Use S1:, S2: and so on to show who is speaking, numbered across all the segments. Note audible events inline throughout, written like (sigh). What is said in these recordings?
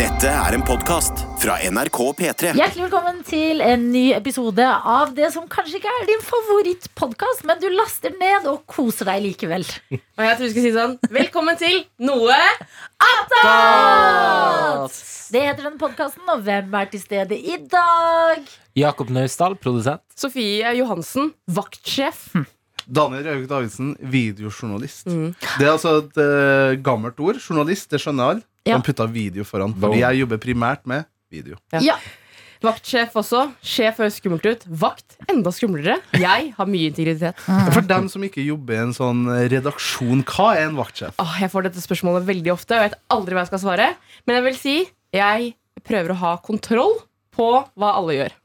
S1: Dette er en podkast fra NRK P3.
S2: Hjertelig velkommen til en ny episode av det som kanskje ikke er din favorittpodkast, men du laster den ned og koser deg likevel.
S3: Og jeg tror vi skal si sånn Velkommen til noe
S2: Det heter denne podkasten, og hvem er til stede i dag?
S4: Jakob Naustdal, produsent.
S3: Sofie Johansen, vaktsjef.
S5: Daniel Røyk Davidsen, videojournalist.
S3: Mm.
S5: Det er altså et eh, gammelt ord. Journalist, det skjønner alle.
S2: Ja.
S5: Han putta video foran. Fordi jeg jobber primært med video.
S2: Ja.
S3: Ja. Vaktsjef også. Sjef høres skummelt ut. Vakt enda skumlere. Jeg har mye integritet.
S5: For dem som ikke jobber i en sånn redaksjon, hva er en vaktsjef?
S3: Åh, jeg får dette spørsmålet veldig ofte, og jeg vet aldri hva jeg skal svare. Men jeg vil si jeg prøver å ha kontroll på hva alle gjør.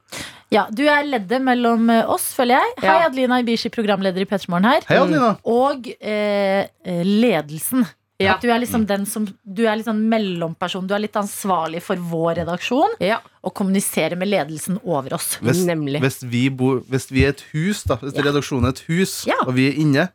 S2: Ja, du er leddet mellom eh, oss, føler jeg.
S3: Ja.
S2: Hei, Adelina Ibishi, programleder i P3 Morgen her.
S3: Mm.
S5: Hei, Adelina.
S2: Og eh, eh, ledelsen.
S3: Ja.
S2: At du er liksom den som Du er litt sånn mellomperson. Du er litt ansvarlig for vår redaksjon
S3: Ja,
S2: og kommuniserer med ledelsen over oss.
S5: Hvis,
S3: Nemlig.
S5: hvis, vi bor, hvis vi er et hus, da, hvis redaksjonen er et hus,
S2: Ja.
S5: og vi er inne,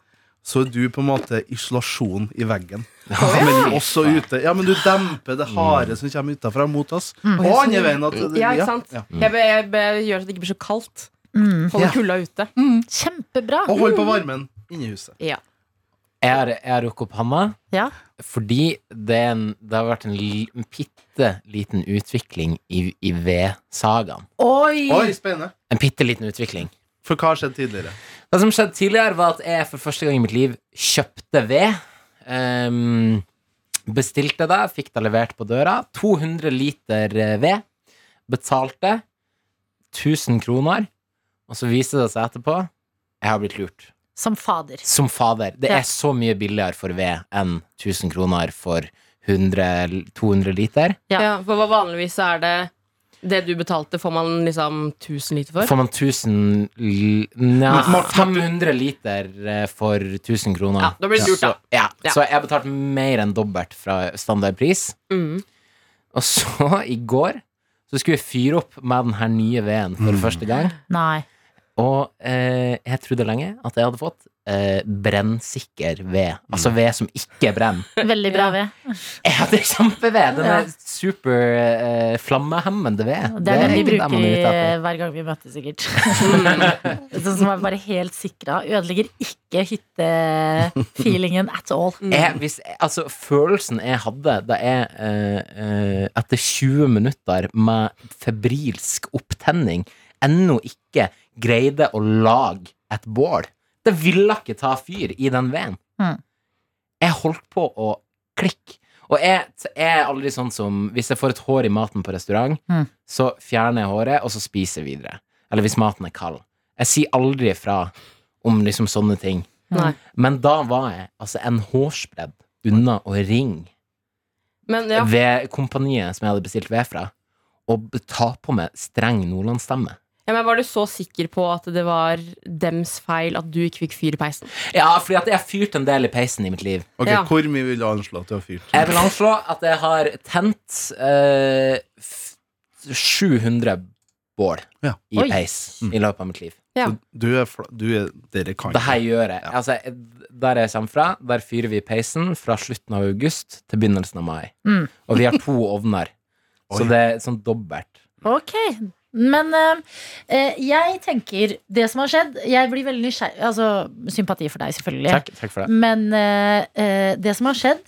S5: så er du på en måte isolasjon i veggen. Mellom oss og ute. Ja, men du demper det harde som kommer utafra mot oss. Og andre veien. At,
S3: Mm. ja ikke sant?
S5: ja.
S3: Jeg, be, jeg be, gjør så det ikke blir så kaldt. Holder
S5: Ja.
S3: kulda ute.
S2: Kjempebra.
S5: Mm. Og hold på varmen inne i huset.
S3: Ja.
S4: Jeg har- jeg har rukket opp handa
S2: Ja.
S4: fordi det, er en, det har vært en, li- en bitte liten utvikling i, i vedsagaen.
S2: Oi!
S5: Oi, spennende.
S4: En bitte liten utvikling.
S5: For hva har skjedd tidligere?
S4: Det som skjedde tidligere, var at jeg for første gang i mitt liv kjøpte ved. Ehm, bestilte det, fikk det levert på døra. 200 liter eh, ved. Betalte 1000 kroner. Og så viser det seg etterpå jeg har blitt lurt.
S2: Som fader.
S4: Som fader. Det
S2: Ja.
S4: er så mye billigere for ved enn 1000 kroner for 100, 200 liter.
S2: Ja.
S3: Ja, for hva vanligvis er det det du betalte, får man liksom 1000 liter for?
S4: Får man 1000 l-
S5: Mart-
S4: Nja,
S5: Mart-
S4: 500 liter eh, for 1000 kroner.
S3: Ja, da blir det lurt, da.
S4: Så, ja.
S3: Ja.
S4: så jeg betalte mer enn dobbelt fra standardpris.
S3: Mm.
S4: Og så, i går, så skulle jeg fyre opp med den her nye veden for første gang.
S2: Nei.
S4: Og eh, jeg trodde lenge at jeg hadde fått eh, brennsikker ved. Altså ved som ikke brenner.
S2: Veldig bra ved.
S4: Jeg hadde kjempeved. Den
S2: Ja.
S4: der super eh, flammehemmende ved.
S2: Det er den vi
S4: ikke
S2: bruker
S4: man er ute
S2: eh,
S4: etter.
S2: hver gang vi møtes, sikkert. (laughs) sånn som er bare helt sikra. Ødelegger ikke hyttefeelingen at all.
S4: Jeg, hvis, altså, følelsen jeg hadde da jeg eh, eh, etter 20 minutter med febrilsk opptenning ennå ikke greide å lage et bål Det ville ikke ta fyr i den veden.
S2: Mm.
S4: Jeg holdt på å klikke. Og jeg, jeg er aldri sånn som Hvis jeg får et hår i maten på restaurant,
S2: Mm.
S4: så fjerner jeg håret, og så spiser jeg videre. Eller hvis maten er kald. Jeg sier aldri fra om liksom sånne ting.
S3: Nei.
S4: Men da var jeg altså en hårsbredd unna å ringe
S3: Men ja,
S4: ved kompaniet som jeg hadde bestilt ved fra, og b- ta på meg streng nordlandsstemme.
S3: Ja, men Var du så sikker på at det var dems feil at du ikke fikk fyr i peisen?
S4: Ja, fordi at jeg har fyrt en del i peisen i mitt liv.
S5: Ok,
S3: Ja.
S5: Hvor mye vil du anslå at du har fyrt?
S4: Jeg vil anslå at jeg har tent eh, f- 700 bål
S5: Ja.
S4: i
S3: Oi.
S4: peis i løpet av mitt liv.
S3: Ja.
S5: Du er, fla- du er Dere kan
S4: Det her
S5: ikke.
S4: gjør jeg. Altså, jeg- der jeg kommer fra, der fyrer vi i peisen fra slutten av august til begynnelsen av mai.
S2: Mm.
S4: Og vi har to ovner, så
S5: Oi.
S4: det er sånn dobbelt.
S2: Ok. Men eh, eh, jeg tenker Det som har skjedd Jeg blir veldig nysgjerrig. Altså, sympati for deg, selvfølgelig.
S4: Takk, takk for det.
S2: Men eh, eh, det som har skjedd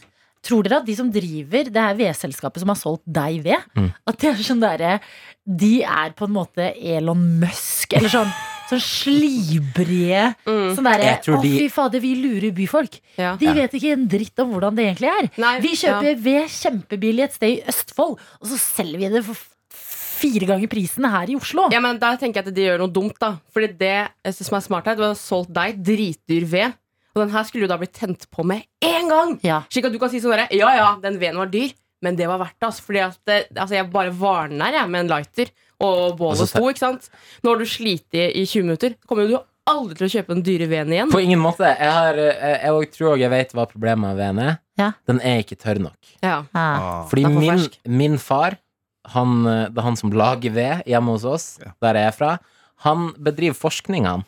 S2: Tror dere at de som driver det her vedselskapet som har solgt deg ved,
S4: Mm.
S2: at det er sånn derre De er på en måte Elon Musk, eller
S4: (laughs)
S2: sånn Sånn slibrige Sånn derre
S4: Jeg
S2: Å,
S4: tror de-
S2: fy fader, vi lurer byfolk.
S3: Mm. Ja.
S2: De vet ikke en dritt om hvordan det egentlig er.
S3: Nei,
S2: vi kjøper ved kjempebillig et sted i Østfold, og så selger vi det for f- fire ganger prisen her i Oslo.
S3: Ja, men Der tenker jeg at de gjør noe dumt. da Fordi det eh, som er smart her, Du har solgt deg dritdyr ved, og den her skulle jo da blitt tent på med én gang!
S2: Ja.
S3: Slik at du kan si sånn derre Ja ja, den veden var dyr, men det var verdt det. Altså, fordi at det, altså jeg bare varner jeg med en lighter og bål
S4: Altså,
S3: og sto. ikke sant Når du sliter i 20 minutter, kommer jo du aldri til å kjøpe den dyre veden igjen.
S4: På ingen måte. Jeg, har, eh, jeg og- tror også jeg vet hva problemet med veden er.
S2: Ja.
S4: Den er ikke tørr nok.
S3: Ja.
S2: Ah.
S5: Ah.
S4: Fordi
S3: Den er for
S4: min,
S3: fersk.
S4: min far, han, eh, det er han som lager ved hjemme hos oss,
S5: Ja.
S4: der jeg er fra, han bedriver forskning, han,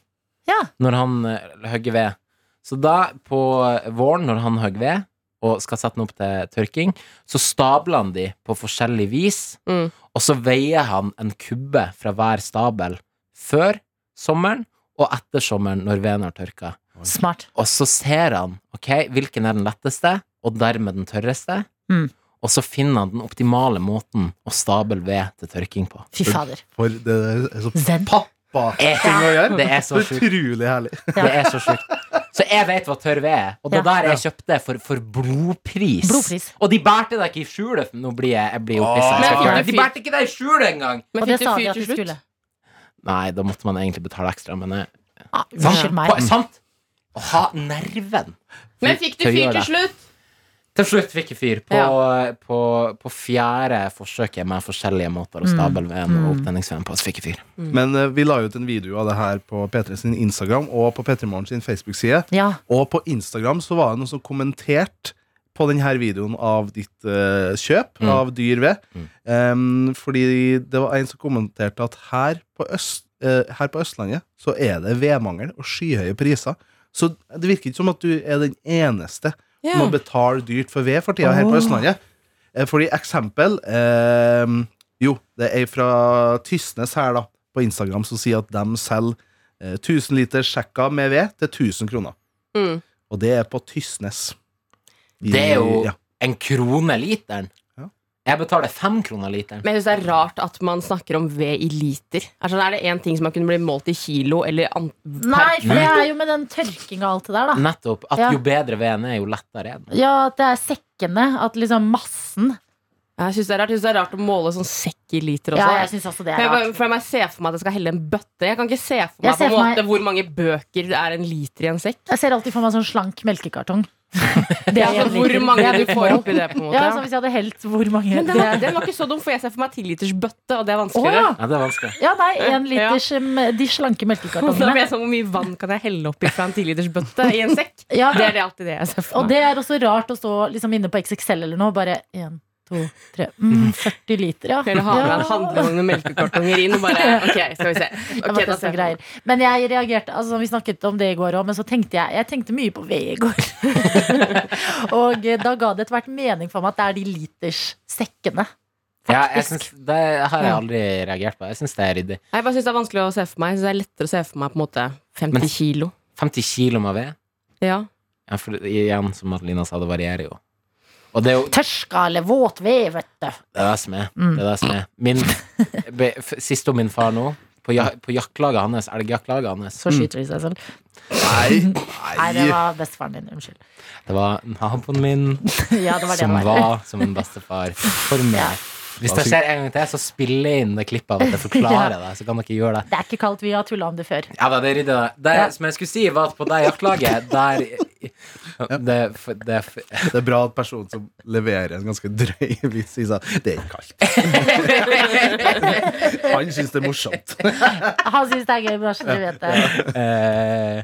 S2: Ja.
S4: når eh, han eh, hogger ved. Så da, på våren, når han hogger ved, og skal sette den opp til tørking, så stabler han de på forskjellig vis,
S3: Mm.
S4: og så veier han en kubbe fra hver stabel før sommeren og etter sommeren når veden har tørka.
S2: Smart.
S4: Og så ser han ok, hvilken er den letteste, og dermed den tørreste.
S2: Mm.
S4: Og så finner han den optimale måten å stable ved til tørking på.
S2: Fy fader.
S5: For det er så
S2: Zen.
S5: pappa-ting å gjøre.
S4: Det er
S5: (laughs)
S4: så sjukt.
S5: Utrolig herlig.
S4: Eh, Det er så sjukt. Så jeg vet hva tørr ved er, og det
S2: Ja.
S4: der jeg kjøpte for, for blodpris.
S2: Blodpris.
S4: Og de bærte deg ikke i skjulet. Nå blir jeg, jeg blir jo
S5: Åh.
S3: Men fikk
S4: pissa.
S3: du
S4: De
S3: fyr-
S4: bærte ikke deg i skjulet engang!
S2: Og
S3: Men
S2: det
S3: fikk du
S2: sa de
S3: fyr
S2: at
S3: til
S2: de
S3: slutt?
S2: skulle.
S4: Nei, da måtte man egentlig betale ekstra, men eh, jeg-
S2: Ah, Unnskyld
S4: Hva-
S2: meg.
S4: Sant! Å ha nerven.
S3: Men fikk du
S4: Til å gjøre
S3: fyr
S4: det.
S3: til slutt?
S4: Til slutt fikk jeg fyr på, på, på fjerde forsøket med forskjellige måter å stable
S2: Mm.
S4: veden og opptenningsveden på. Så fikk jeg fyr.
S5: Men eh, vi la ut en video av det her på P3 sin Instagram og på P3 Morgen sin Facebook-side.
S2: Ja.
S5: Og på Instagram så var det noen som kommenterte på denne videoen av ditt eh, kjøp
S4: Mm.
S5: av dyr ved.
S4: Mm.
S5: Em, fordi det var en som kommenterte at her på, øst, eh, her på Østlandet så er det vedmangel og skyhøye priser. Så det virker ikke som at du er den eneste som må betale dyrt for ved for tida her på Østlandet. Eh, Fordi eksempel em, Jo, det er fra Tysnes her da på Instagram som sier at de selger eh, 1000 liter sjekka med ved til 1000 kroner.
S3: Mm.
S5: Og det er på Tysnes. I-
S4: Det er jo
S5: ja.
S4: en krone literen.
S5: Ja.
S4: Jeg betaler fem kroner literen.
S3: Men jeg synes det er rart at man snakker om ved i liter. Er, sånn, er det én ting som man kunne bli målt i kilo eller an per-
S2: Nei, for det er jo med den tørkinga og alt det der, da.
S4: Nettopp. At
S2: Ja.
S4: jo bedre veden er, jo lettere er den.
S2: Ja, at det er sekkene. At liksom massen.
S3: Jeg synes det er rart Jeg synes det er rart å måle sånn sekk i liter også.
S2: Ja, jeg syns også det
S3: For
S2: er
S3: jeg, bare-
S2: rart.
S3: for jeg bare ser for meg at jeg skal helle en bøtte. Jeg kan ikke se for meg,
S2: Jeg ser
S3: på en
S2: for
S3: måte
S2: meg-
S3: hvor mange bøker det er en liter i en sekk.
S2: Jeg ser alltid for meg sånn slank melkekartong. (laughs)
S3: Det er
S2: en
S3: altså hvor
S2: liter.
S3: mange
S2: Det er
S3: du får oppi det, på en måte.
S2: Ja, som hvis jeg hadde helt hvor mange
S3: altså, Men den var, den var ikke så dum, for jeg ser for meg 10 liters bøtte, og det er
S2: Å
S3: vanskeligere.
S2: ja.
S4: Ja, det er vanskelig.
S2: ja, nei, én liters em, De slanke
S3: Og da blir
S2: melkekartongene.
S3: jeg sånn, Hvor mye vann kan jeg helle oppi fra en 10 liters bøtte i en sekk?
S2: (laughs) Ja,
S3: Det er det alltid det jeg ser for
S2: og
S3: meg.
S2: det er også rart å stå liksom inne på XXL eller noe, bare én, to, tre mm, 40 liter, ja.
S3: Eller har med
S2: Ja.
S3: deg en handlevogn med melkekartonger inn og bare Ok, skal vi se.
S2: Ja, men
S3: Ok, da
S2: det er så
S3: ser jeg
S2: greier. Men jeg reagerte altså, Vi snakket om det i går òg, men så tenkte jeg Jeg tenkte mye på V i går. (laughs) og eh, da ga det etter hvert mening for meg at det er de literssekkene.
S4: Ja, jeg synes, det har jeg aldri reagert på. Jeg syns det er ryddig.
S3: Jeg bare synes det er vanskelig å se for meg. Jeg synes det er lettere å se for meg på en måte 50
S4: Men-
S3: kilo.
S4: 50 kilo med ved.
S3: Ja.
S4: Ja, for igjen, som Adelina sa, det varierer jo. Og det er jo
S2: Tørska eller våt ved, vet du.
S4: Det er det som er.
S2: Mm.
S4: Det er det som er. Min, be, f, sist om min far nå. På, ja, på jaktlaget hans, elgjaktlaget hans.
S3: Mm.
S2: Så skyter de seg selv.
S5: (laughs) Nei,
S2: Nei, det
S5: nei.
S2: var bestefaren din. Unnskyld. (laughs)
S4: Det var naboen min
S2: Ja, det var det
S4: som
S2: det var.
S4: var som en bestefar
S2: (laughs)
S4: for
S2: Ja.
S4: meg. Hvis det skjer en gang til, så spiller jeg inn det klippet av at jeg
S2: (laughs)
S4: forklarer det. Så kan dere gjøre det.
S2: Det er ikke kaldt. Vi har tulla om det før.
S4: Ja da, det er ryddig, det. Det
S2: Ja.
S4: som jeg skulle si, var at på det (laughs) jaktlaget der det, det,
S5: Det er bra at personen som leverer en ganske drøy vits, sier sånn Det er ikke (laughs) kaldt. Han syns det er morsomt.
S2: Han syns det er gøy, bare så du vet det.
S4: (laughs) eh,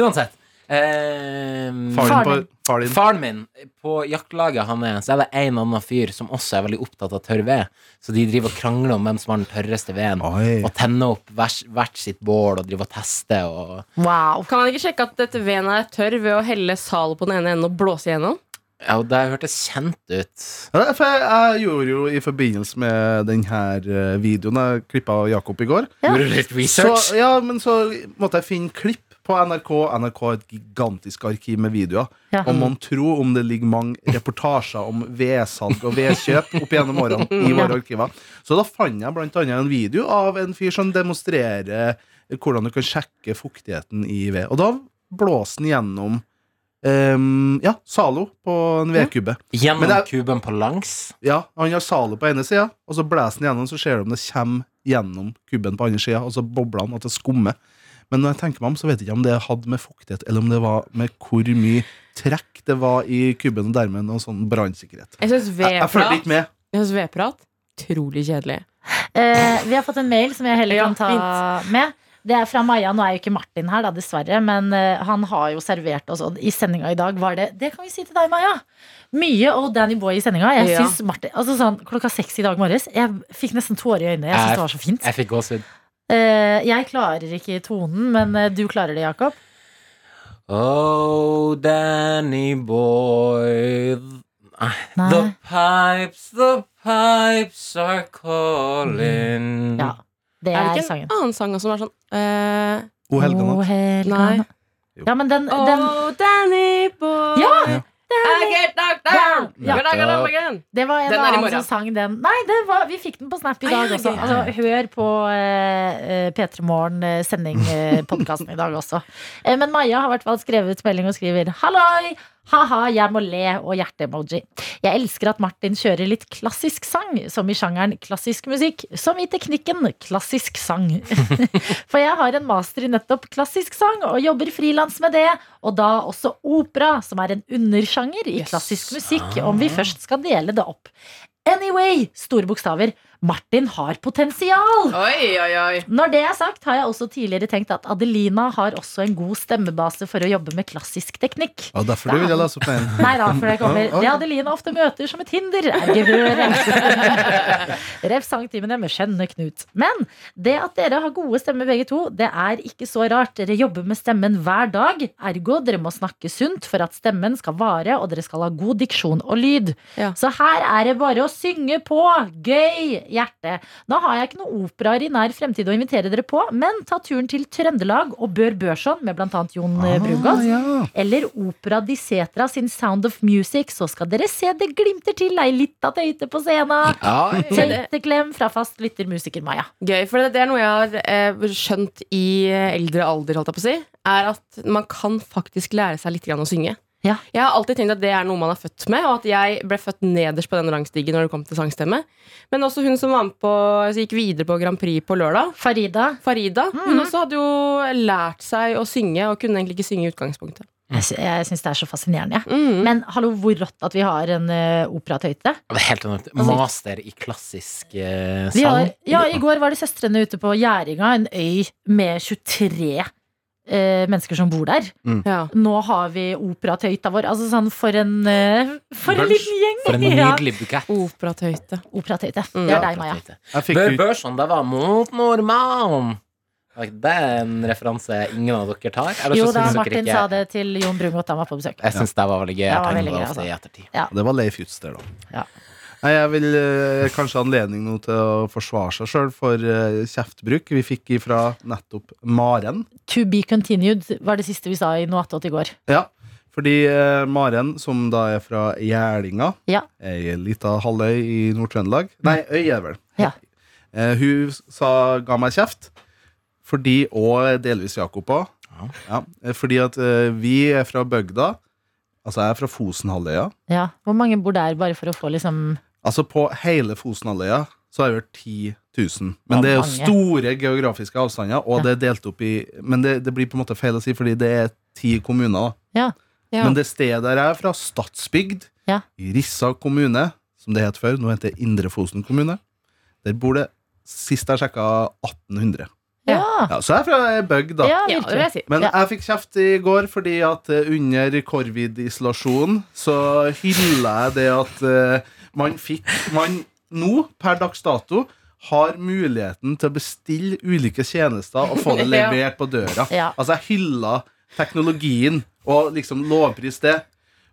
S4: Uansett. Eh,
S5: Faren på,
S2: Faren.
S5: far din.
S4: Faren min, på jaktlaget han er, så er det en annen fyr som også er veldig opptatt av tørr ved. Så de driver og krangler om hvem som har den tørreste veden,
S5: Oi.
S4: og tenner opp hvert, hvert sitt bål og driver og tester og
S2: Wow.
S3: Kan man ikke sjekke at dette veden er tørr ved å helle sal på den ene enden og blåse igjennom?
S4: Ja, og det hørtes kjent ut.
S5: Ja, for jeg, jeg gjorde jo i forbindelse med denne videoen jeg klippa av Jakob i går
S2: Ja.
S4: Gjorde du litt research?
S5: Så, ja, men så måtte jeg finne klipp på NRK. NRK har et gigantisk arkiv med videoer.
S2: Ja.
S5: Og man tror om det ligger mange reportasjer om vedsalg og vedkjøp opp gjennom årene i våre arkiver. Så da fant jeg blant annet en video av en fyr som demonstrerer hvordan du kan sjekke fuktigheten i ved. Og da blåser den gjennom ehm, ja, Zalo på en vedkubbe.
S4: Gjennom
S5: Men det
S4: kuben på langs?
S5: Ja, han har Zalo på ene sida, og så blåser han gjennom, så ser du om det kommer gjennom kubben på andre sida, og så bobler han, at det skummer. Men når jeg tenker meg om, så vet jeg ikke om det hadde med fuktighet, eller om det var med hvor mye trekk det var i kubben, og dermed noe sånn brannsikkerhet.
S3: Jeg syns
S5: Jeg, jeg følte ikke
S3: vedprat
S5: med.
S3: Jeg synes vedprat utrolig kjedelig.
S2: Eh, vi har fått en mail som jeg heller
S3: Ja,
S2: kan ta med. Det er fra Maja. Nå er jo ikke Martin her, da, dessverre, men eh, han har jo servert oss. Og i sendinga i dag var det Det kan vi si til deg, Maja! Mye og Danny Boy i sendinga. Jeg
S3: Ja.
S2: synes Martin, altså sånn, Klokka seks i dag morges Jeg fikk nesten tårer i øynene. Jeg synes det var så fint.
S4: Jeg fikk gåsehud.
S2: Eh, jeg klarer ikke tonen, men eh, du klarer det, Jakob.
S4: Oh, Danny boy.
S2: Nei.
S4: The pipes, the pipes are calling.
S2: Ja, det
S3: Er det
S2: er
S3: ikke en
S2: sangen.
S3: annen sang også som er sånn eh,
S5: O helga
S2: O
S5: natt.
S2: helga
S3: Nei.
S2: natt. Ja, men den, den
S3: Oh, Danny boy
S2: Ja!
S3: I get knocked down
S2: Ja.
S3: You're not gonna again
S2: Det var en
S3: Den er i
S2: annen
S3: morgen.
S2: som sang den. Nei, det var, vi fikk den på Snap i
S3: Ah, ja,
S2: dag også.
S3: gøy.
S2: Altså, hør på eh, P3
S3: (laughs)
S2: Morgen-sending-podkasten i dag også. Eh, men Maja har i hvert fall skrevet melding og skriver 'halloi'. Haha, jeg må le og hjerte-emoji. Jeg elsker at Martin kjører litt klassisk sang, som i sjangeren klassisk musikk, som i teknikken klassisk sang. (laughs) For jeg har en master i nettopp klassisk sang, og jobber frilans med det, og da også opera, som er en undersjanger i
S3: Yes. Ah.
S2: klassisk musikk, om vi først skal dele det opp. Anyway, store bokstaver, Martin har potensial!
S3: Oi, oi, oi
S2: Når det er sagt, har jeg også tidligere tenkt at Adelina har også en god stemmebase for å jobbe med klassisk teknikk.
S5: Og derfor du ville lese opp den.
S2: (laughs) Nei da, for det kommer.
S5: Ja, ok.
S2: Det Adeline ofte møter som et hinder, er gevøret.
S5: (laughs)
S2: Ref sangtimene med skjønne Knut. Men det at dere har gode stemmer begge to, det er ikke så rart. Dere jobber med stemmen hver dag. Ergo dere må snakke sunt for at stemmen skal vare, og dere skal ha god diksjon og lyd.
S3: Ja.
S2: Så her er det bare å synge på. Gøy! Hjerte. Nå har jeg ikke noen operaer i nær fremtid å invitere dere på, men ta turen til Trøndelag og Bør Børson med blant annet Jon ah, Brungot.
S5: ja.
S2: Eller Opera di Setra sin Sound of Music, så skal dere se det glimter til ei lita tøyte på scenen. Tøyteklem fra fast lytter musiker Maja.
S3: Gøy, for det, det er noe jeg har eh, skjønt i eh, eldre alder, holdt jeg på å si, er at man kan faktisk lære seg litt grann å synge.
S2: Ja.
S3: Jeg har alltid tenkt at det er noe man er født med, og at jeg ble født nederst på den rangstigen når det kom til sangstemme. Men også hun som var med på, som gikk videre på Grand Prix på lørdag,
S2: Farida.
S3: Farida,
S2: Mm.
S3: hun også hadde jo lært seg å synge, og kunne egentlig ikke synge i utgangspunktet.
S2: Jeg, sy jeg syns det er så fascinerende. jeg.
S3: Mm.
S2: Men hallo, hvor rått at vi har en eh, operatøyte.
S4: Det er helt enormt. Master i klassisk eh,
S2: Vi
S4: sang.
S2: har, ja, I går var det søstrene ute på Gjæringa, en øy med 23 eh, mennesker som bor der.
S3: ja.
S2: Nå har vi operatøyta vår. Altså sånn for en, eh, for en
S4: Bunch.
S2: liten gjeng!
S4: For
S2: (laughs)
S4: en
S2: Ja.
S4: nydelig bukett.
S3: Operatøyte.
S2: Operatøyte.
S3: Mm.
S2: Det er deg, Maja.
S5: Jeg fikk
S4: Bør
S5: jo
S4: Børson, det var mot nordmann. Det er en referanse ingen av dere tar. Eller så
S2: Jo da,
S4: synes dere
S2: Martin
S4: ikke-
S2: sa det til Jon Brungot da han var på besøk.
S4: Jeg syns det var veldig gøy.
S2: Det
S4: Jeg
S2: var
S4: tenker
S2: veldig
S4: det
S2: gøy, altså.
S4: ofte i ettertid.
S5: Det var Leif Jutster, da.
S2: Ja.
S5: Nei, jeg vil eh, kanskje ha anledning nå til å forsvare seg sjøl for eh, kjeftbruk. Vi fikk ifra nettopp Maren.
S2: To be continued var det siste vi sa i Noe attåt i går.
S5: Ja, fordi eh, Maren, som da er fra Gjælinga,
S2: Ja. Mm.
S5: ei lita halvøy i Nord-Trøndelag Nei, øy er det vel.
S2: Ja.
S5: Eh, hun sa, ga meg kjeft, fordi, og delvis Jakob òg.
S4: Ja.
S5: fordi at eh, vi er fra bygda. Altså, jeg er fra Fosenhalvøya.
S2: Ja. Hvor mange bor der, bare for å få liksom
S5: Altså, på hele Fosenhalvøya så er det vel 10 000. Men det er jo
S2: Mange.
S5: store geografiske avstander, og
S2: Ja.
S5: det er delt opp i Men det, det blir på en måte feil å si, fordi det er ti kommuner. da.
S2: Ja.
S3: Ja.
S5: Men det stedet der jeg er fra, Stadsbygd,
S2: Ja.
S5: i Rissa kommune, som det het før, nå heter det Indre Fosen kommune, der bor det Sist jeg sjekka, 1800.
S2: Ja!
S5: Ja, så jeg er fra ei bygd, da.
S2: Ja,
S3: Ja, det vil
S2: virkelig.
S3: jeg si.
S5: Men
S2: Ja.
S5: jeg fikk kjeft i går fordi at eh, under covid-isolasjon så hylla jeg det at eh, man fikk Man nå, per dags dato, har muligheten til å bestille ulike tjenester og
S2: (laughs)
S5: få det
S3: Ja.
S5: levert på døra.
S2: Ja.
S5: Altså, jeg hylla teknologien og liksom lovpris det.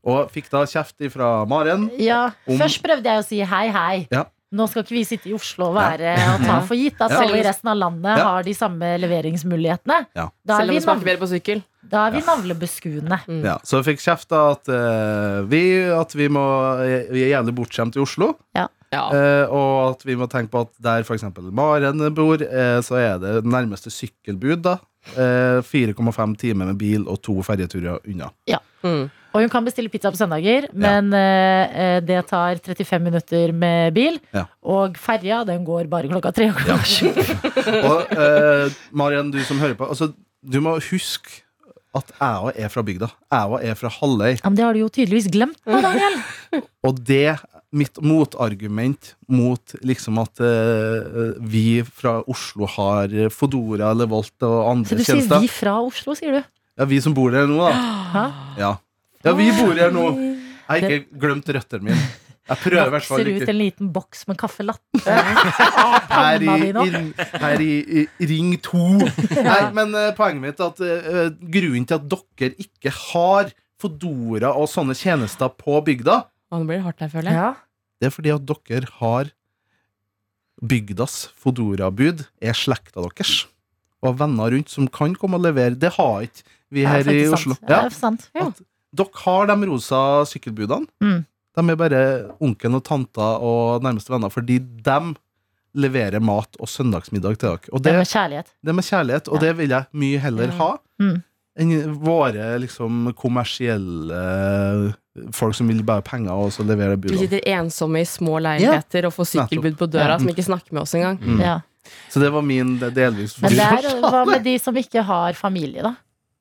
S5: Og fikk da kjeft ifra Maren.
S2: Ja.
S5: Om-
S2: Først prøvde jeg å si hei, hei.
S5: Ja.
S2: Nå skal ikke vi sitte i Oslo og være og ta for gitt at
S5: Ja.
S2: alle i resten av landet
S5: Ja.
S2: har de samme leveringsmulighetene.
S5: Ja.
S2: Da er
S3: Selv om
S2: vi,
S3: det smaker
S2: nav
S3: bedre Mm. på sykkel.
S2: da er vi navlebeskuende.
S5: Ja, så jeg fikk kjeft da at, eh, vi, at vi, må, eh, vi er jævlig bortskjemt i Oslo.
S3: Ja.
S5: Eh, og at vi må tenke på at der f.eks. Maren bor, eh, så er det nærmeste sykkelbud, da. Eh, 4,5 timer med bil og to ferjeturer unna.
S3: Mm.
S2: Og hun kan bestille pizza på søndager, men eh, eh, det tar 35 minutter med bil.
S5: Ja.
S2: Og ferja, den går bare klokka tre og klokka sju. Mm.
S5: Og eh, Maren, du som hører på, altså, du må huske at jeg òg er fra bygda. Jeg òg er fra Halløy.
S2: Ja, men det har du jo tydeligvis glemt. nå,
S3: (laughs)
S2: Daniel.
S5: Og det mitt motargument mot liksom at eh, vi fra Oslo har Fodora eller Volt og
S2: Så
S5: andre
S2: du sier
S5: tjenester.
S2: vi fra Oslo, sier du?
S5: Ja, vi som
S2: (gasps)
S5: bor der nå, da.
S2: Hæ?
S5: Ja, ja vi bor her nå. Jeg har ikke glemt røttene mine. Jeg prøver i hvert fall
S2: Ser ut
S5: ikke.
S2: en liten boks med kaffe latte av
S5: Her
S2: panna
S5: i,
S2: di nå.
S5: inn- her i, i Ring
S2: (laughs)
S5: 2. Nei, men eh, poenget mitt er at eh, grunnen til at dere ikke har Fodora og sånne tjenester på bygda,
S3: Å, nå blir det hardt her, føler jeg.
S2: Ja.
S5: det er fordi at dere har bygdas Fodora-bud, er slekta deres. Og har venner rundt som kan komme og levere. Det har ikke vi
S2: Det er
S5: her i
S2: faktisk
S5: Oslo.
S2: sant. Ja, det er sant.
S3: Ja.
S5: At dere har de rosa sykkelbudene.
S2: Mm.
S5: De er bare onkelen og tanta og nærmeste venner, fordi de leverer mat og søndagsmiddag til dere. Og
S2: Det
S5: det,
S2: er med kjærlighet.
S5: det med kjærlighet, og det vil jeg mye heller ha
S2: Mm.
S5: enn våre liksom, kommersielle eh, folk som vil bare ha penger og så leverer
S3: Vi
S5: budene.
S3: sitter ensomme i små leiligheter og får sykkelbud på døra
S5: Ja.
S3: som ikke snakker med oss engang.
S5: Mm.
S2: Ja.
S5: Så det var min det- delvis
S2: Men det er hva med de som ikke har familie, da?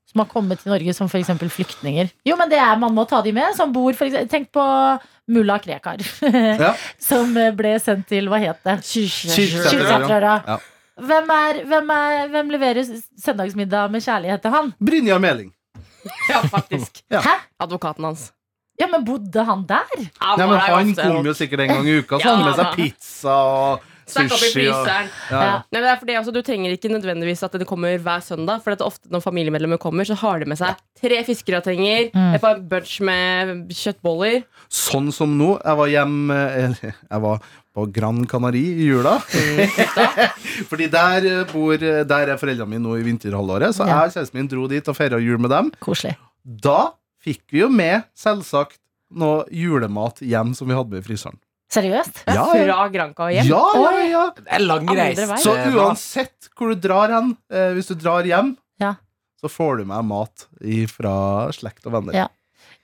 S2: Som har kommet til Norge som f.eks. flyktninger. Jo, men det er man må ta de med. Som bor for eksempel, Tenk på mulla Krekar.
S5: (laughs)
S2: (laughs)
S5: Ja.
S2: Som ble sendt til Hva het det?
S5: Kyrksæterøra.
S2: Kyrksæterøra.
S5: Ja.
S2: Hvem, er, hvem, er, hvem leverer søndagsmiddag med kjærlighet til han?
S5: Brynjar Meling.
S3: (laughs) Ja, faktisk.
S5: Ja.
S2: Hæ?
S3: Advokaten hans.
S2: Ja, men bodde han der?
S3: Han
S5: Nei, men
S3: var der
S5: han
S3: ofte.
S5: kom jo sikkert en gang i uka, så han hadde med
S3: Ja.
S5: seg pizza og
S3: Stakk opp i
S5: sushi. Og,
S3: fryseren.
S5: ja, ja.
S3: Nei, men det er fordi altså, Du trenger ikke nødvendigvis at den kommer hver søndag. For at ofte når familiemedlemmer kommer, så har de med seg tre fiskegratenger,
S2: Mm.
S3: et par bunch med kjøttboller.
S5: Sånn som nå. Jeg var hjemme Eller, jeg var på Gran Canaria i jula. (laughs) Fordi der eh, bor Der er foreldrene mine nå i vinterhalvåret, så
S2: Ja.
S5: jeg og kjæresten min dro dit og feira jul med dem.
S2: Koselig.
S5: Da fikk vi jo med, selvsagt, noe julemat hjem som vi hadde med i fryseren.
S2: Seriøst?
S5: Ja, ja,
S3: Fra Granca og hjem.
S5: ja, ja, ja.
S4: Det er langreist.
S3: Andre vei.
S5: Så uansett hvor du drar hen, eh, hvis du drar hjem,
S2: Ja.
S5: så får du med mat fra slekt og venner.
S2: Ja.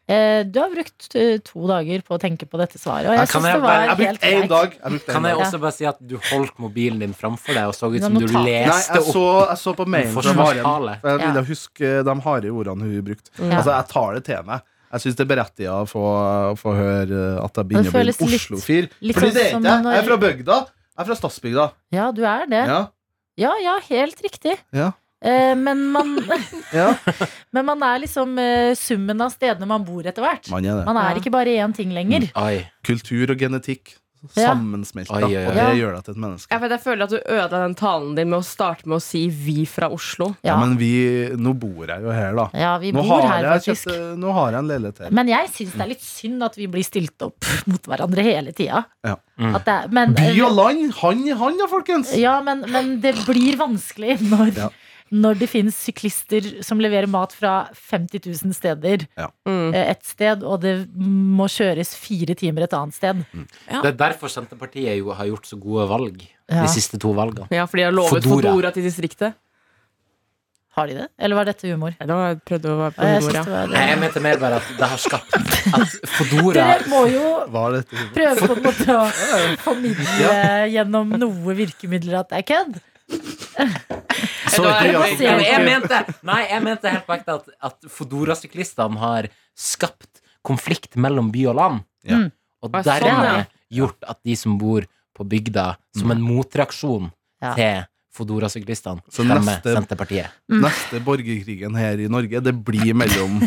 S2: Eh, Du har brukt eh, to dager på å tenke på dette svaret, og
S4: Ja,
S2: jeg
S4: kan
S2: syns
S4: jeg
S2: det
S4: bare-
S2: var
S5: Jeg
S2: helt
S5: brukte én
S2: greit.
S5: dag. Jeg brukte en
S4: Kan jeg
S5: dag.
S4: også bare si at du holdt mobilen din framfor deg og så ut
S2: Det er
S4: som du
S2: notater.
S5: Nei,
S4: leste
S5: jeg så,
S4: opp
S5: jeg så på mailen fra Maren.
S4: forsvarstale?
S5: Jeg ville
S2: Ja.
S5: huske de harde ordene hun brukte.
S3: Ja.
S5: Altså, jeg tar det til meg. Jeg syns det er berettiget å få, få høre at jeg begynner å bli
S2: føles
S5: en
S2: litt-
S5: Oslo-fyr.
S2: litt
S5: Fordi
S2: sånn
S5: det er
S2: som
S5: ikke jeg. Jeg
S2: når-
S5: er fra bygda. Jeg er fra stadsbygda.
S2: Ja, du er det.
S5: Ja.
S2: Ja, ja, helt riktig.
S5: Ja.
S2: Eh, Men man (laughs)
S5: ja.
S2: Men man er liksom eh, summen av stedene man bor etter hvert.
S5: Man er det. Mm.
S2: Man er
S3: Ja.
S2: ikke bare én ting lenger.
S4: Oi.
S5: Kultur og genetikk
S2: Ja.
S5: sammensmelta,
S4: Oi, oi, oi.
S5: og det gjør deg til et menneske.
S3: Ja, for jeg føler at du ødela den talen din med å starte med å si 'vi fra Oslo'.
S5: Ja,
S2: Ja,
S5: men vi, nå bor jeg jo her, da.
S2: ja vi
S5: Nå
S2: bor
S5: har,
S2: her,
S5: jeg
S2: faktisk.
S5: kjøpt, eh, nå har jeg en leilighet her.
S2: Men jeg syns det er litt synd at vi blir stilt opp (laughs) mot hverandre hele tida.
S5: Ja.
S4: Mm.
S2: At det er- men-
S5: By og land, han i han, da, folkens!
S2: Ja, men, men det blir vanskelig når,
S5: Ja.
S2: når det finnes syklister som leverer mat fra 50 000 steder
S3: Mm.
S2: eh, et sted, og det må kjøres fire timer et annet sted.
S3: Ja.
S4: Det er derfor Senterpartiet jo har gjort så gode valg
S2: Ja.
S4: de siste to valgene.
S3: Ja, fordi jeg har lovet
S4: Fodora.
S3: Fodora, til distriktet.
S2: Har de det? Eller var dette humor?
S3: Nei, da prøvde jeg å være på
S2: Ja, jeg
S3: humor,
S2: synes
S3: ja.
S2: det var
S4: Nei, jeg mente mer bare at det har skapt at Fodora
S2: Dere må jo
S5: Hva er dette?
S2: prøve på en måte å formidle gjennom noe virkemidler at det er kødd.
S5: Så
S3: Da er
S5: ikke
S3: det
S5: Jakob
S2: Jeg-
S4: jeg
S5: Kroken.
S4: mente, Nei, jeg mente helt på ekte at, at Fodora-syklistene har skapt konflikt mellom by og land.
S5: Ja.
S2: Mm.
S4: Og
S3: Ah, sånn,
S4: dermed
S3: ja.
S4: gjort at de som bor på bygda, som en motreaksjon
S2: Ja.
S4: til Fodora-syklistene,
S5: Så
S4: stemmer
S5: neste-
S4: Senterpartiet.
S5: Neste borgerkrigen her i Norge, det blir mellom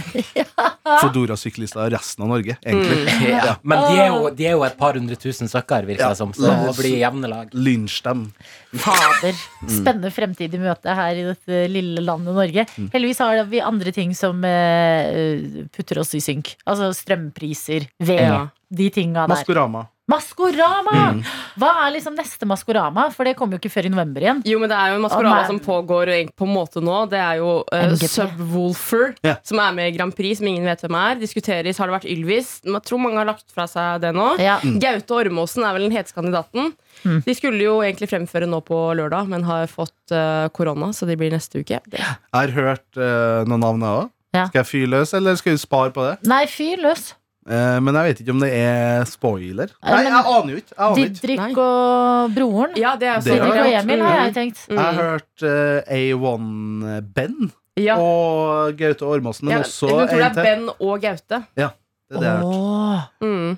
S5: Fodora-syklister og resten av Norge, egentlig.
S4: Ja. Men de er, jo, de er jo et par hundre tusen stykker, virker
S5: Ja,
S4: det som. Så
S5: la
S4: det
S5: oss-
S4: blir jevne lag.
S5: Lynsj dem.
S2: Fader. Spennende fremtid i møte her i dette lille landet Norge. Heldigvis har vi andre ting som eh, putter oss i synk. Altså strømpriser, ved,
S3: Ja.
S2: de tinga der.
S5: Maskorama.
S2: Maskorama! Hva er liksom neste Maskorama? For det kommer jo ikke før i november igjen.
S3: Jo, men det er jo en
S2: Å,
S3: maskorama
S2: nei.
S3: som pågår egentlig på en måte nå. Det er jo eh,
S2: MGP.
S3: Subwoolfer,
S5: Ja.
S3: som er med i Grand Prix, som ingen vet hvem er. Diskuteres. Har det vært Ylvis? Jeg tror mange har lagt fra seg det nå.
S2: Ja.
S5: Mm.
S3: Gaute Ormåsen er vel den heteste kandidaten.
S2: Mm.
S3: De skulle jo egentlig fremføre nå på lørdag, men har fått eh, korona, så de blir neste uke. Det.
S5: Jeg har hørt eh, noen navn, jeg òg.
S2: Ja.
S5: Skal jeg fyre løs, eller skal vi spare på det?
S2: Nei, fyr løs.
S5: Eh, men jeg vet ikke om det er spoiler. Nei,
S2: men-
S5: jeg aner jo ikke. Jeg, aner ikke.
S2: Didrik
S3: Nei.
S2: og broren.
S3: Ja, det er jo
S5: Det
S3: sånn
S5: har
S2: Didrik
S3: det
S2: og
S3: er.
S2: Emil, har jeg tenkt.
S3: Mm.
S5: jeg har hørt eh, A1 Ben
S3: Ja.
S5: og Gaute Ormåsen, men
S3: Ja,
S5: også
S3: jeg tror det
S5: en
S3: er
S5: til.
S3: Ben og Gaute.
S5: Det er det jeg har hørt.
S2: Åh.
S3: Mm.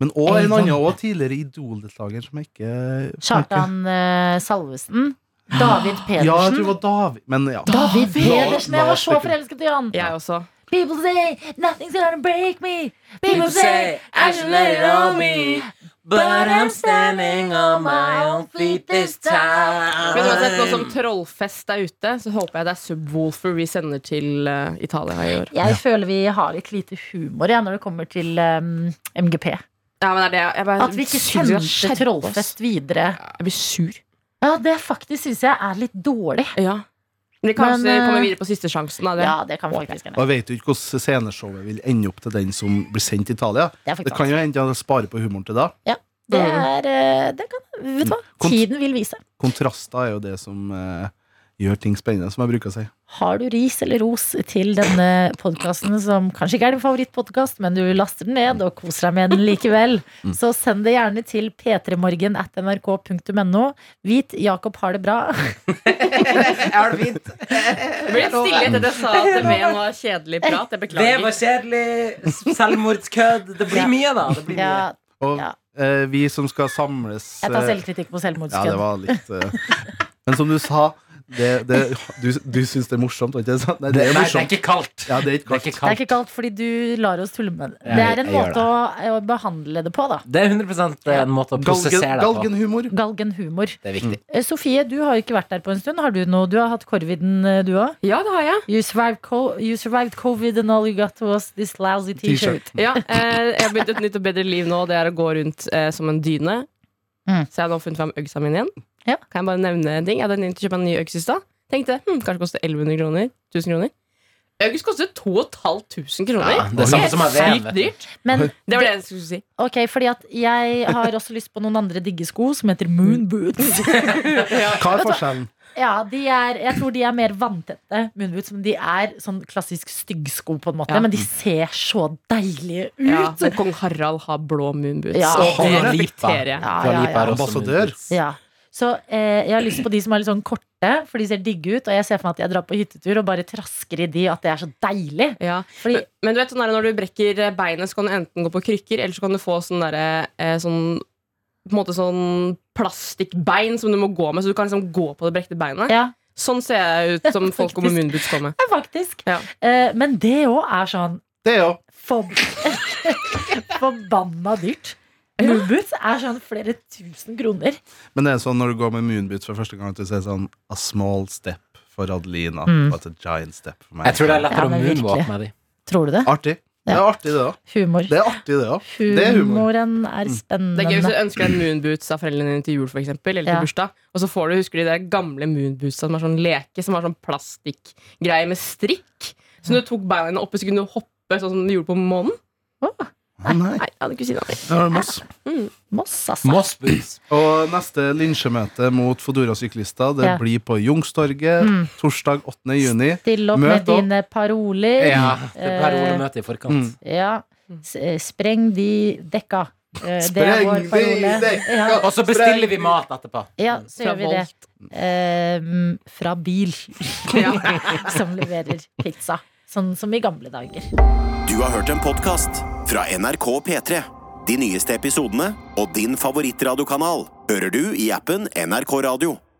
S5: Men også en
S2: A1.
S5: annen og tidligere Idol-deltaker som jeg ikke som jeg ikke-
S2: Kjartan eh, Salvesen. David
S5: Ja, jeg tror
S2: Pedersen.
S5: det var David. Men ja.
S2: David Pedersen! Jeg var så
S5: David.
S2: forelsket i han!
S3: Jeg også.
S2: People say nothing's gonna break me. People say I should let it on me. But I'm standing on my own feet this time.
S3: Men uansett, nå
S5: Eh.
S3: som Trollfest er ute, så håper jeg det er Subwoolfer vi sender til eh, Italia i år.
S2: Jeg føler vi har litt lite humor ja, når det kommer til um, MGP.
S3: Ja, men det er det. Jeg, bare,
S2: At vi ikke
S3: synes vi skal
S2: sendte
S3: skjerpe oss.
S2: Trollfest videre.
S3: Jeg blir sur.
S2: Ja, Det faktisk syns jeg er litt dårlig.
S3: Ja. Men kanskje
S2: Men, eh,
S3: kommer videre på siste sjansen. Da, det.
S2: Ja, det kan faktisk hende.
S5: Og jeg vet jo ikke hvordan sceneshowet vil ende opp til den som blir sendt til Italia.
S2: Det er
S5: Det
S2: faktisk
S5: kan
S2: sant.
S5: jo hende han sparer på humoren til da.
S2: Det er eh, det kan, Vet du hva?
S5: Kont-
S2: Tiden vil vise.
S5: Kontraster er jo det som eh, gjør ting spennende, som jeg bruker å si.
S2: Har du ris eller ros til denne podkasten, som kanskje ikke er din favorittpodkast, men du laster den ned og koser deg med den likevel, så send det gjerne til p3morgen at nrk.no. Vit Jakob har det bra.
S4: Jeg har det fint.
S3: Det ble litt stille etter at jeg sa at det med var kjedelig
S2: Eh,
S3: prat. Jeg
S4: Det
S3: beklager.
S4: var kjedelig. Selvmordskødd. Det blir mye, da. Det blir mye.
S2: Ja,
S5: Og
S2: Ja.
S5: eh, vi som skal samles
S2: jeg tar
S5: eh,
S2: selvkritikk på
S5: Ja, det
S2: selvmordskødd.
S5: var litt eh, Men som du sa, det, det, du, du syns det er morsomt, var ikke det sant? Nei, det er
S4: Nei, det er
S5: morsomt.
S4: ikke kaldt.
S5: Ja, det er
S4: Det
S5: ikke
S4: er ikke
S5: kaldt.
S2: Det er
S4: kaldt.
S2: ikke kaldt fordi du lar oss tulle med det.
S4: Jeg-
S2: Det er en
S4: jeg gjør
S2: måte å, å behandle det på, da.
S4: Det er 100 en måte å
S5: Galgen, Mm.
S4: prosessere deg på.
S5: galgenhumor.
S2: Galgenhumor.
S4: Det er viktig.
S2: Eh, Sofie, du har jo ikke vært der på en stund. Har du noe? Du har hatt korviden, eh, du òg?
S3: Ja, det har jeg.
S2: You, survived co- you survived covid and all you got was this lousy T-shirt.
S3: Ja, eh, jeg har begynt et nytt og bedre liv nå. Det er å gå rundt eh, som en dyne.
S2: Mm.
S3: Så jeg har nå funnet fram øgsa mine igjen.
S2: Ja.
S3: Kan jeg bare nevne en ting? Jeg hadde tenkt å kjøpe en ny øks i stad. Tenkte hm, kanskje koster 1100 kroner. 1000 kroner. Øks koster 2500 kroner.
S4: Ja, det er samme som å være
S3: sykt dyrt.
S2: Men
S3: Det var det jeg skulle si.
S2: Ok, fordi at jeg har også lyst på noen andre digge sko som heter moon boots.
S3: (laughs)
S5: Hva er forskjellen?
S2: Ja, de er, jeg tror de er mer vanntette moon boots, men de er sånn klassisk styggsko på en måte.
S3: Ja.
S2: Men de ser så deilige ut.
S3: Ja,
S2: Ja,
S3: men Kong Harald har blå moonboots.
S2: Ja.
S3: Og
S4: Og
S3: det
S4: Dua Lipa.
S3: respekterer jeg.
S2: ja,
S4: Dua
S2: ja,
S4: Lipa er også
S5: Ambassadør.
S4: mulig.
S2: Ja. Så eh, jeg har lyst på de som er litt sånn korte, for de ser digge ut. Og jeg ser for meg at jeg drar på hyttetur og bare trasker i de, at det er så deilig.
S3: Ja.
S2: Fordi
S3: Men, men du vet sånn der, når du brekker eh, beinet, så kan du enten gå på krykker, eller så kan du få sånn derre eh, sånn på en måte sånn plastikkbein som du må gå med, så du kan liksom gå på det brekte beinet.
S2: ja,
S3: Sånn ser jeg ut som folk går med
S2: Faktisk.
S3: munnbuds kommer.
S2: ja, faktisk.
S3: Ja.
S2: Eh, men det òg er sånn
S5: Det er jo
S2: for, (laughs) forbanna dyrt. Moon boots er sånn flere tusen kroner.
S5: Men det er sånn når du går med moonboots for første gang, at du ser sånn A small step for Adelina,
S2: Mm.
S5: but a giant step for meg.
S4: Jeg tror det er
S2: Ja,
S4: lettere
S2: men
S4: å moonwalk
S2: virkelig.
S4: med de.
S2: Tror du det?
S5: Artig. Det er artig, det òg.
S2: Humor.
S5: Det er artig, det òg. Det er humor. Mm.
S2: Humoren er spennende.
S3: Det er gøy hvis du ønsker deg en moonboots av foreldrene dine til jul, for eksempel, eller til
S2: Ja.
S3: bursdag, og så får du, husker du de der gamle moonbootsa som er sånn leke, som har sånn plastikkgreie med strikk, så når du tok beina dine oppe, så kunne du hoppe sånn som du gjorde på månen?
S5: Å, nei.
S3: Nei, jeg hadde ikke sagt det.
S5: Det var Moss.
S2: Moss, altså.
S4: Moss boots.
S5: Og neste lynsjemøte mot Fodora-syklister Det
S2: Ja.
S5: blir på Youngstorget torsdag 8. juni.
S2: Still opp
S5: Møt
S2: med
S5: opp.
S2: dine paroler.
S4: Ja, det
S2: Eh,
S4: er rolig møte i forkant.
S5: Mm.
S2: ja.
S3: Mm.
S2: S- eh, Spreng de dekka. Eh, Det er
S5: Spreng
S2: vår
S5: de
S2: parole.
S5: dekka.
S2: Ja,
S4: Og så bestiller vi mat etterpå.
S2: ja så
S3: Fra
S2: gjør vi det.
S3: Volt.
S2: Eh, fra bil (laughs)
S3: Ja.
S2: som leverer pizza. Sånn som i gamle dager.
S1: Du har hørt en podcast fra NRK P3. De nyeste episodene og din favorittradiokanal hører du i appen NRK Radio.